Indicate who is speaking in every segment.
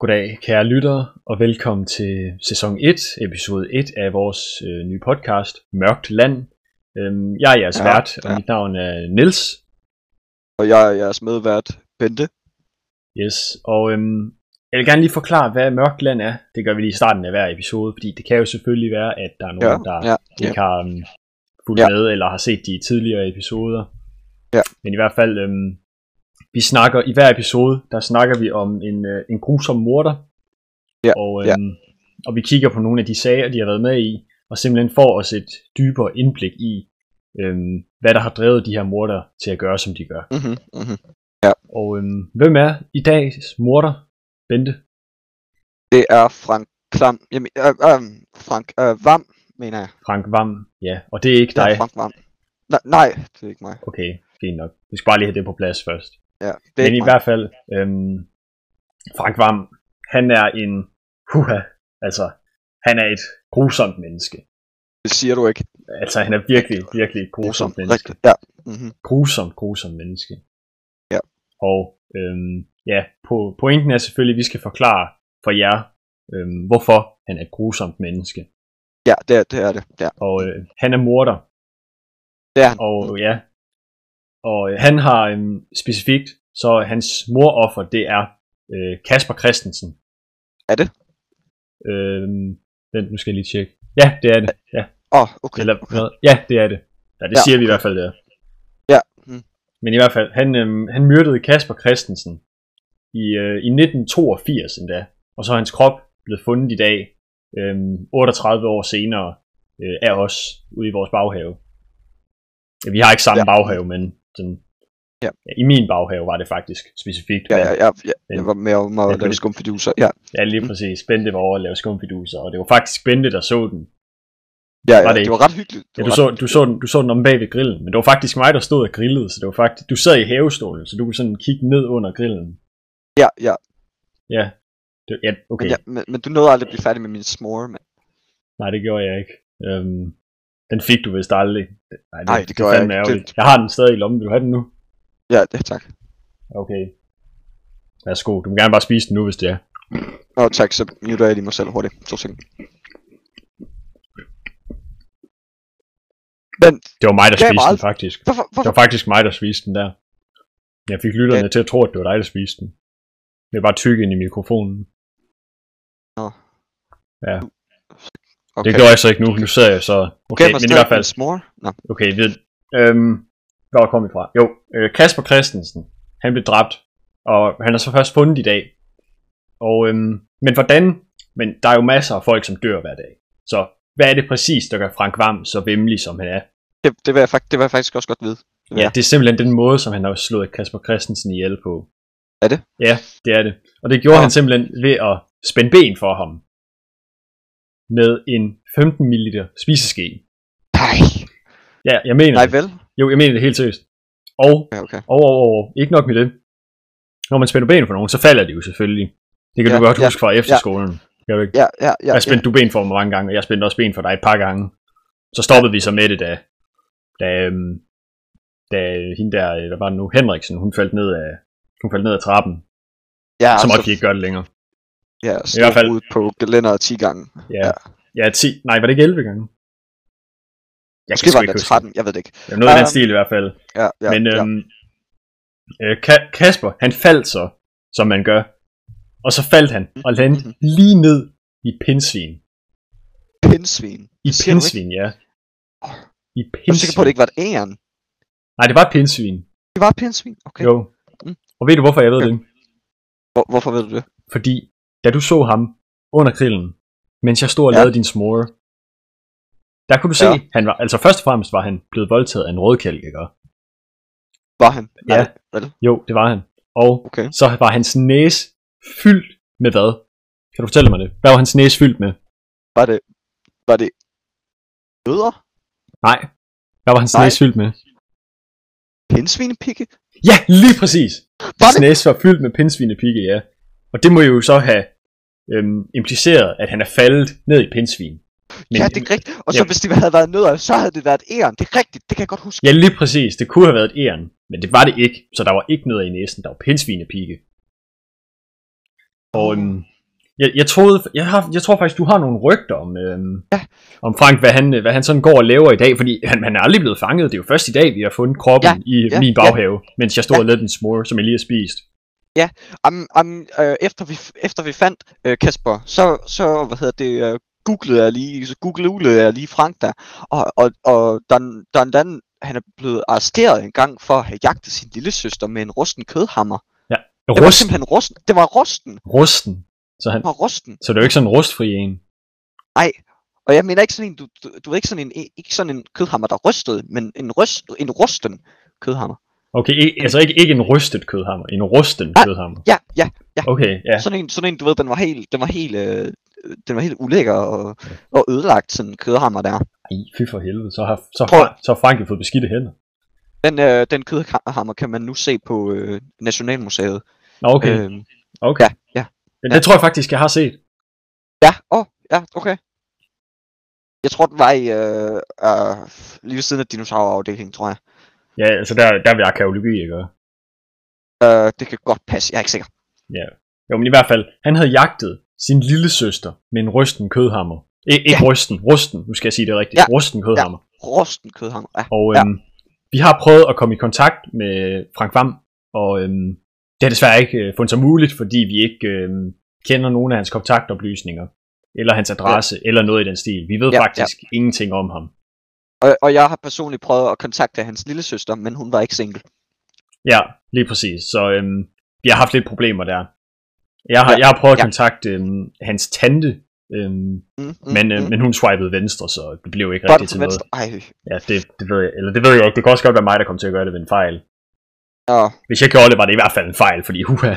Speaker 1: Goddag kære lyttere, og velkommen til sæson 1, episode 1 af vores øh, nye podcast, Mørkt Land. Øhm, jeg er jeres ja,
Speaker 2: Ja,
Speaker 1: vært, og
Speaker 2: ja.
Speaker 1: mit navn er Niels.
Speaker 2: Og jeg er jeres medvært, Bente.
Speaker 1: Yes, og øhm, jeg vil gerne lige forklare, hvad Mørkt Land er. Det gør vi lige i starten af hver episode, fordi det kan jo selvfølgelig være, at der er
Speaker 2: Ja,
Speaker 1: nogen, ja, der
Speaker 2: ja, ja.
Speaker 1: ikke har um, fulgt ja.
Speaker 2: Ja.
Speaker 1: med, eller har set de tidligere episoder.
Speaker 2: Ja.
Speaker 1: Men i hvert fald, øhm, vi snakker i hver episode, der snakker vi om en, øh, en grusom morder.
Speaker 2: Ja,
Speaker 1: Og, øhm,
Speaker 2: ja.
Speaker 1: og vi kigger på nogle af de sager, de har været med i, og simpelthen får os et dybere indblik i, øhm, hvad der har drevet de her morder til at gøre, som de gør.
Speaker 2: Mm-hmm, mm-hmm.
Speaker 1: Og øhm, hvem er i dags morder? Bente?
Speaker 2: Det er Frank Klam. Jamen, øh, øh, Frank øh, Vam, mener jeg.
Speaker 1: Frank Vam? Ja, og det er ikke
Speaker 2: Det
Speaker 1: dig.
Speaker 2: er Frank Vam. Nej, nej, det er ikke mig.
Speaker 1: Okay, fint nok. Vi skal bare lige have det på plads først.
Speaker 2: Ja, det er
Speaker 1: Men
Speaker 2: ikke
Speaker 1: i
Speaker 2: mig.
Speaker 1: hvert fald, øhm, Frank Vam, han er en huha, altså han er et grusomt menneske.
Speaker 2: Det siger du ikke.
Speaker 1: Altså han er virkelig, virkelig et grusomt menneske.
Speaker 2: Rigtigt. Ja. Mm-hmm.
Speaker 1: Grusomt, grusomt menneske.
Speaker 2: Ja.
Speaker 1: Og øhm, ja, på, pointen er selvfølgelig, at vi skal forklare for jer, øhm, hvorfor han er et grusomt menneske.
Speaker 2: Ja, det er det. Er det. Ja.
Speaker 1: Og øh, han er morder,
Speaker 2: det er han.
Speaker 1: og ja, og øh, han har øhm, specifikt, så hans moroffer, det er øh, Kasper Christensen.
Speaker 2: Er det?
Speaker 1: Øhm, vent, nu skal jeg lige tjekke. Ja, det er det. Ja,
Speaker 2: Åh, oh, okay.
Speaker 1: Eller, hvad? ja det er det. Ja, det
Speaker 2: Ja,
Speaker 1: siger vi i hvert fald, det er.
Speaker 2: Ja, mm.
Speaker 1: Men i hvert fald, han, øhm, han myrdede Kasper Christensen i, øh, i 1982 endda, og så er hans krop blevet fundet i dag, øhm, 38 år senere, øh, af os ude i vores baghave. Ja, vi har ikke samme ja.
Speaker 2: Ja.
Speaker 1: baghave, men den,
Speaker 2: Ja.
Speaker 1: Ja, i min baghave var det faktisk specifikt.
Speaker 2: Ja,
Speaker 1: men-
Speaker 2: ja, ja, ja. Jeg
Speaker 1: Men-
Speaker 2: var med om at
Speaker 1: Ja,
Speaker 2: lave
Speaker 1: det-
Speaker 2: skumfiduser. Ja,
Speaker 1: ja lige
Speaker 2: Mm.
Speaker 1: præcis. Bente var over at lave skumfiduser, og det var faktisk Bente, der så den.
Speaker 2: ja,
Speaker 1: Var
Speaker 2: ja.
Speaker 1: det
Speaker 2: Det var ret hyggeligt. Det
Speaker 1: Ja,
Speaker 2: var
Speaker 1: du,
Speaker 2: ret...
Speaker 1: så, du, så den, du så den om bag ved grillen, men det var faktisk mig, der stod og grillede, så det var faktisk, du sad i havestolen, så du kunne sådan kigge ned under grillen.
Speaker 2: ja, ja.
Speaker 1: Ja, det, ja
Speaker 2: Men,
Speaker 1: okay.
Speaker 2: ja men, men, du nåede aldrig at blive færdig med min smore, mand.
Speaker 1: Nej, det gjorde jeg ikke. Øhm, den fik du vist aldrig. Nej,
Speaker 2: Nej, det gjorde jeg
Speaker 1: fandme
Speaker 2: ikke.
Speaker 1: ærgerligt. Jeg har den stadig i lommen, vil du have den nu?
Speaker 2: Ja, det, tak.
Speaker 1: Okay. Værsgo, du må gerne bare spise den nu, hvis det er.
Speaker 2: Nå, tak, så muter jeg lige mig selv hurtigt. To sekunder. Men
Speaker 1: Det var mig, der
Speaker 2: Gav mig
Speaker 1: spiste den
Speaker 2: aldrig-
Speaker 1: faktisk.
Speaker 2: hvorfor,
Speaker 1: Det
Speaker 2: hvorfor
Speaker 1: var faktisk mig, der spiste den der. Jeg fik lytterne til at tro, at det var dig, der spiste den. Jeg bare tykke ind i mikrofonen. Okay. Det gjorde jeg så ikke nu. Nu sidder jeg så...
Speaker 2: Okay,
Speaker 1: Okay, men i hvert fald...
Speaker 2: Smore? Nå,
Speaker 1: Okay, ved... Øhm, hvor kom vi fra? Jo, øh, Kasper Christensen, han blev dræbt, og han er så først fundet i dag. Og, øhm, men hvordan? Men der er jo masser af folk, som dør hver dag. Så hvad er det præcis, der gør Frank Vam så vemmelig, som han er?
Speaker 2: det, det, vil jeg, fakt- det vil jeg faktisk også godt vide.
Speaker 1: Ja. ja,
Speaker 2: Ja.
Speaker 1: det er simpelthen den måde, som han har slået Kasper Christensen ihjel på.
Speaker 2: Er det?
Speaker 1: Ja, det er det. Og det gjorde ja.
Speaker 2: Nå.
Speaker 1: han simpelthen ved at spænde ben for ham. Med en 15 ml spiseske.
Speaker 2: Nej,
Speaker 1: Ja, jeg mener
Speaker 2: nej
Speaker 1: det.
Speaker 2: vel?
Speaker 1: Jo, jeg mener det helt seriøst. Og
Speaker 2: Ja, okay.
Speaker 1: Og, og, og ikke nok med det. Når man spænder ben for nogen, så falder de jo selvfølgelig. Det kan ja, du
Speaker 2: Ja,
Speaker 1: godt
Speaker 2: ja,
Speaker 1: huske fra efterskolen. Ja. Jeg, ikke?
Speaker 2: Ja, ja, ja.
Speaker 1: jeg spændte ja. du ben for mig mange gange, og jeg spændte også ben for dig et par gange. Så stoppede vi så med det, da, da, øhm, da hende der, øh, hvad var det nu, Henriksen, hun faldt ned af, hun faldt ned af trappen.
Speaker 2: ja, altså,
Speaker 1: Ja, så måtte vi ikke gøre det længere.
Speaker 2: Ja,
Speaker 1: I hvert fald-
Speaker 2: ud på gelænderet 10 gange.
Speaker 1: Ja,
Speaker 2: Ja.
Speaker 1: ja 10, nej, var det ikke 11 gange? Jeg
Speaker 2: Måske var
Speaker 1: sgu
Speaker 2: det
Speaker 1: ikke huske
Speaker 2: 13, jeg ved det ikke.
Speaker 1: Det var noget i den
Speaker 2: Øhm,
Speaker 1: stil i hvert fald.
Speaker 2: Ja, ja,
Speaker 1: Ja, Men
Speaker 2: ja.
Speaker 1: øhm, øh, Ka- Kasper, han faldt så, som man gør. Og så faldt han og landede
Speaker 2: Mhm.
Speaker 1: lige ned i pindsvin.
Speaker 2: Pindsvin.
Speaker 1: I
Speaker 2: Siger du ikke?
Speaker 1: pindsvin, ja.
Speaker 2: Åh,
Speaker 1: I
Speaker 2: Jeg er sikker på,
Speaker 1: pindsvin.
Speaker 2: at det ikke var et æren.
Speaker 1: Nej, det var et pindsvin.
Speaker 2: Det var et pindsvin? Okay.
Speaker 1: Jo.
Speaker 2: Mm.
Speaker 1: Og ved du, hvorfor jeg ved
Speaker 2: Ja.
Speaker 1: det?
Speaker 2: Hvor, hvorfor ved du det?
Speaker 1: Fordi, da du så ham under grillen, mens jeg stod og
Speaker 2: Ja.
Speaker 1: lavede din smore, der kunne du se,
Speaker 2: Ja.
Speaker 1: han var, altså først og fremmest var han blevet voldtaget af en rødkælk, ikke?
Speaker 2: Var han?
Speaker 1: Ja.
Speaker 2: Nej, vel?
Speaker 1: Jo, det var han. Og
Speaker 2: Okay.
Speaker 1: så var hans næse fyldt med hvad? Kan du fortælle mig det? Hvad var hans næse fyldt med?
Speaker 2: Var det... Var det... Nødder?
Speaker 1: Nej. Hvad var hans
Speaker 2: Nej.
Speaker 1: næse fyldt med?
Speaker 2: Pindsvinepigge?
Speaker 1: Ja, lige præcis.
Speaker 2: Var
Speaker 1: Hans
Speaker 2: det?
Speaker 1: næse var fyldt med pindsvinepigge, ja. Og det må jo så have øhm, impliceret, at han er faldet ned i pindsvin. Men,
Speaker 2: ja, det er rigtigt. Og så
Speaker 1: ja.
Speaker 2: hvis det havde været nødder, så havde det været et æren. Det er rigtigt, det kan jeg godt huske.
Speaker 1: ja, lige præcis. Det kunne have været et æren, men det var det ikke. Så der var ikke noget i næsen. Der var pindsvinepigge. Og øhm, jeg, jeg, troede, jeg, har, jeg tror faktisk, du har nogle rygter om, øhm, ja. om Frank, hvad han, øh, hvad han sådan går og laver i dag, fordi han, han er aldrig blevet fanget. Det er jo først i dag, vi har fundet kroppen
Speaker 2: Ja,
Speaker 1: ja. i
Speaker 2: ja,
Speaker 1: ja. min baghave, ja. mens jeg stod
Speaker 2: Ja.
Speaker 1: ja. og lavede den smør, som jeg lige har spist.
Speaker 2: Am, am, øh, efter, vi, efter vi fandt øh, Kasper, så, så hvad hedder det, øh, googlede jeg lige, så googlede jeg lige Frank der, og, og, og den, den, den, han er blevet arresteret en gang for at have jagtet sin lille søster med en rusten kødhammer. Det var
Speaker 1: Rusten.
Speaker 2: simpelthen rusten. Det var rusten.
Speaker 1: Rusten. Så, han,
Speaker 2: Det var rusten.
Speaker 1: så det er jo ikke sådan en rustfri en.
Speaker 2: Og jeg mener ikke sådan en, du, du, du ved ikke sådan en, ikke sådan en kødhammer, der rystede, men en, ryst, en rusten kødhammer.
Speaker 1: Okay, ikke, altså ikke, ikke en rystet kødhammer, en rusten
Speaker 2: Ah.
Speaker 1: kødhammer.
Speaker 2: Ja, ja,
Speaker 1: Okay, ja.
Speaker 2: ja. Sådan, en, sådan en, du ved, den var helt, den var helt, øh, den var helt ulækker og, og ødelagt, sådan en kødhammer der.
Speaker 1: Ej, fy for helvede, så har, så,
Speaker 2: Prøv-
Speaker 1: har, så har Frank jo fået beskidte hænder.
Speaker 2: Den, øh, den kødhammer kan man nu se på øh, Nationalmuseet.
Speaker 1: Nå, okay, øh,
Speaker 2: Øh,
Speaker 1: okay.
Speaker 2: ja, ja.
Speaker 1: Det, det tror jeg faktisk, jeg har set.
Speaker 2: Ja, åh, oh, ja, okay. Jeg tror, den var i, øh, øh, lige ved siden af dinosaurafdelingen, tror jeg.
Speaker 1: Ja, altså der, der vil arkeologi, ikke?
Speaker 2: Øh, det kan godt passe, jeg er ikke sikker.
Speaker 1: Jo, men i hvert fald, han havde jagtet sin lille søster med en rysten kødhammer. I, ikke ja. rysten, rusten, nu skal jeg sige det rigtigt.
Speaker 2: Ja.
Speaker 1: Ja. Rusten kødhammer. Ja.
Speaker 2: Rosten kødhammer, ja.
Speaker 1: Og øhm, ja. vi har prøvet at komme i kontakt med Frank Vam, og øhm, det har desværre ikke øh, fundet sig muligt, fordi vi ikke øhm, kender nogen af hans kontaktoplysninger, eller hans adresse, ja. eller noget i den stil. Vi ved
Speaker 2: Ja,
Speaker 1: ja,
Speaker 2: ja.
Speaker 1: faktisk ja. ingenting om ham.
Speaker 2: Og, og jeg har personligt prøvet at kontakte hans lille søster, men hun var ikke single.
Speaker 1: Ja, lige præcis. Så øhm, vi har haft lidt problemer der. Jeg har,
Speaker 2: Ja,
Speaker 1: ja, jeg har prøvet at
Speaker 2: ja.
Speaker 1: kontakte øhm, hans tante, øhm, mm,
Speaker 2: Mm, mm,
Speaker 1: men, øh, men hun swipede venstre, så det blev ikke
Speaker 2: Bånd
Speaker 1: rigtigt
Speaker 2: fra
Speaker 1: til noget.
Speaker 2: venstre. Ej,
Speaker 1: Ja, det, det, ved jeg, eller det ved jeg ikke. Det kan også godt være mig, der kom til at gøre det ved en fejl.
Speaker 2: åh.
Speaker 1: Hvis jeg gjorde det, var det i hvert fald en fejl, fordi huha.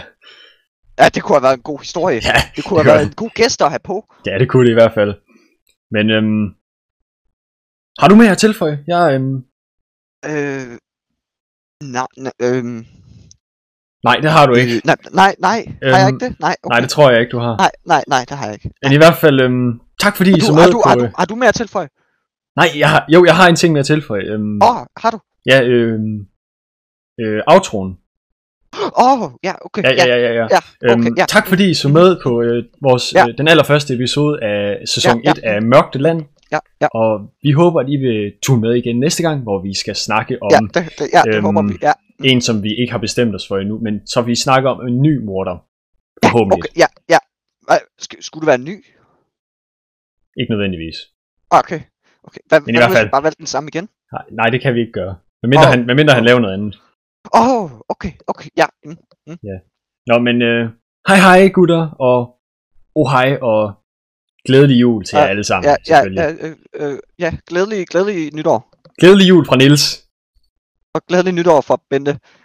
Speaker 2: ja, det kunne have været en god historie.
Speaker 1: Ja,
Speaker 2: Det kunne have
Speaker 1: det
Speaker 2: været
Speaker 1: var-
Speaker 2: en god gæst at have på.
Speaker 1: ja, det kunne det i hvert fald. Men øhm, har du mere at tilføje? Jeg, øhm,
Speaker 2: Øh, nej, nej, øh,
Speaker 1: nej, det har du ikke.
Speaker 2: nej, nej, nej, har jeg
Speaker 1: Øhm,
Speaker 2: ikke det? Nej, Øh, okay.
Speaker 1: Nej, det tror jeg ikke, du har.
Speaker 2: nej, nej, nej, det har jeg ikke.
Speaker 1: Men i hvert fald, øhm, tak fordi
Speaker 2: Har
Speaker 1: I
Speaker 2: du,
Speaker 1: så
Speaker 2: har,
Speaker 1: med
Speaker 2: du,
Speaker 1: på...
Speaker 2: har, du,
Speaker 1: øh,
Speaker 2: har du mere at tilføje?
Speaker 1: Nej, jeg har, jo, jeg har en ting mere at tilføje. Øhm,
Speaker 2: Åh, oh, har du?
Speaker 1: Ja, øh, øh, outroen.
Speaker 2: Åh, oh, ja, okay,
Speaker 1: Ja, ja, ja, ja. ja.
Speaker 2: ja, okay,
Speaker 1: øhm,
Speaker 2: ja.
Speaker 1: Tak fordi I så med på øh, vores,
Speaker 2: Ja.
Speaker 1: ja. øh, den allerførste episode af sæson
Speaker 2: Ja, ja.
Speaker 1: 1 af Mørkte Land.
Speaker 2: ja, ja,
Speaker 1: Og vi håber, at I vil tune med igen næste gang, hvor vi skal snakke om
Speaker 2: ja, det, det, ja, det
Speaker 1: Øhm,
Speaker 2: håber vi, ja,
Speaker 1: en, som vi ikke har bestemt os for endnu, men så vi snakker om en ny morder.
Speaker 2: ja,
Speaker 1: Forhåbentlig.
Speaker 2: okay, ja, ja. Hvad, sk- skulle det være en ny? Ah,
Speaker 1: Ikke nødvendigvis.
Speaker 2: Okay, okay, hvad,
Speaker 1: Men i
Speaker 2: hvad nu,
Speaker 1: hvert
Speaker 2: hvis
Speaker 1: fald-
Speaker 2: vi bare valgte den samme igen?
Speaker 1: Nej, nej, det kan vi ikke gøre. Medmindre,
Speaker 2: Åh.
Speaker 1: oh. han, medmindre han laver noget andet.
Speaker 2: Åh, oh, okay, okay, ja, mm,
Speaker 1: Nå, men øh, hej hej gutter, og oh hej, og glædelig jul til
Speaker 2: Ja,
Speaker 1: jer alle sammen,
Speaker 2: ja, ja,
Speaker 1: selvfølgelig.
Speaker 2: ja, øh, øh, ja, glædelig, glædelig nytår.
Speaker 1: Glædelig jul fra Nils.
Speaker 2: Og glædelig nytår fra Bente.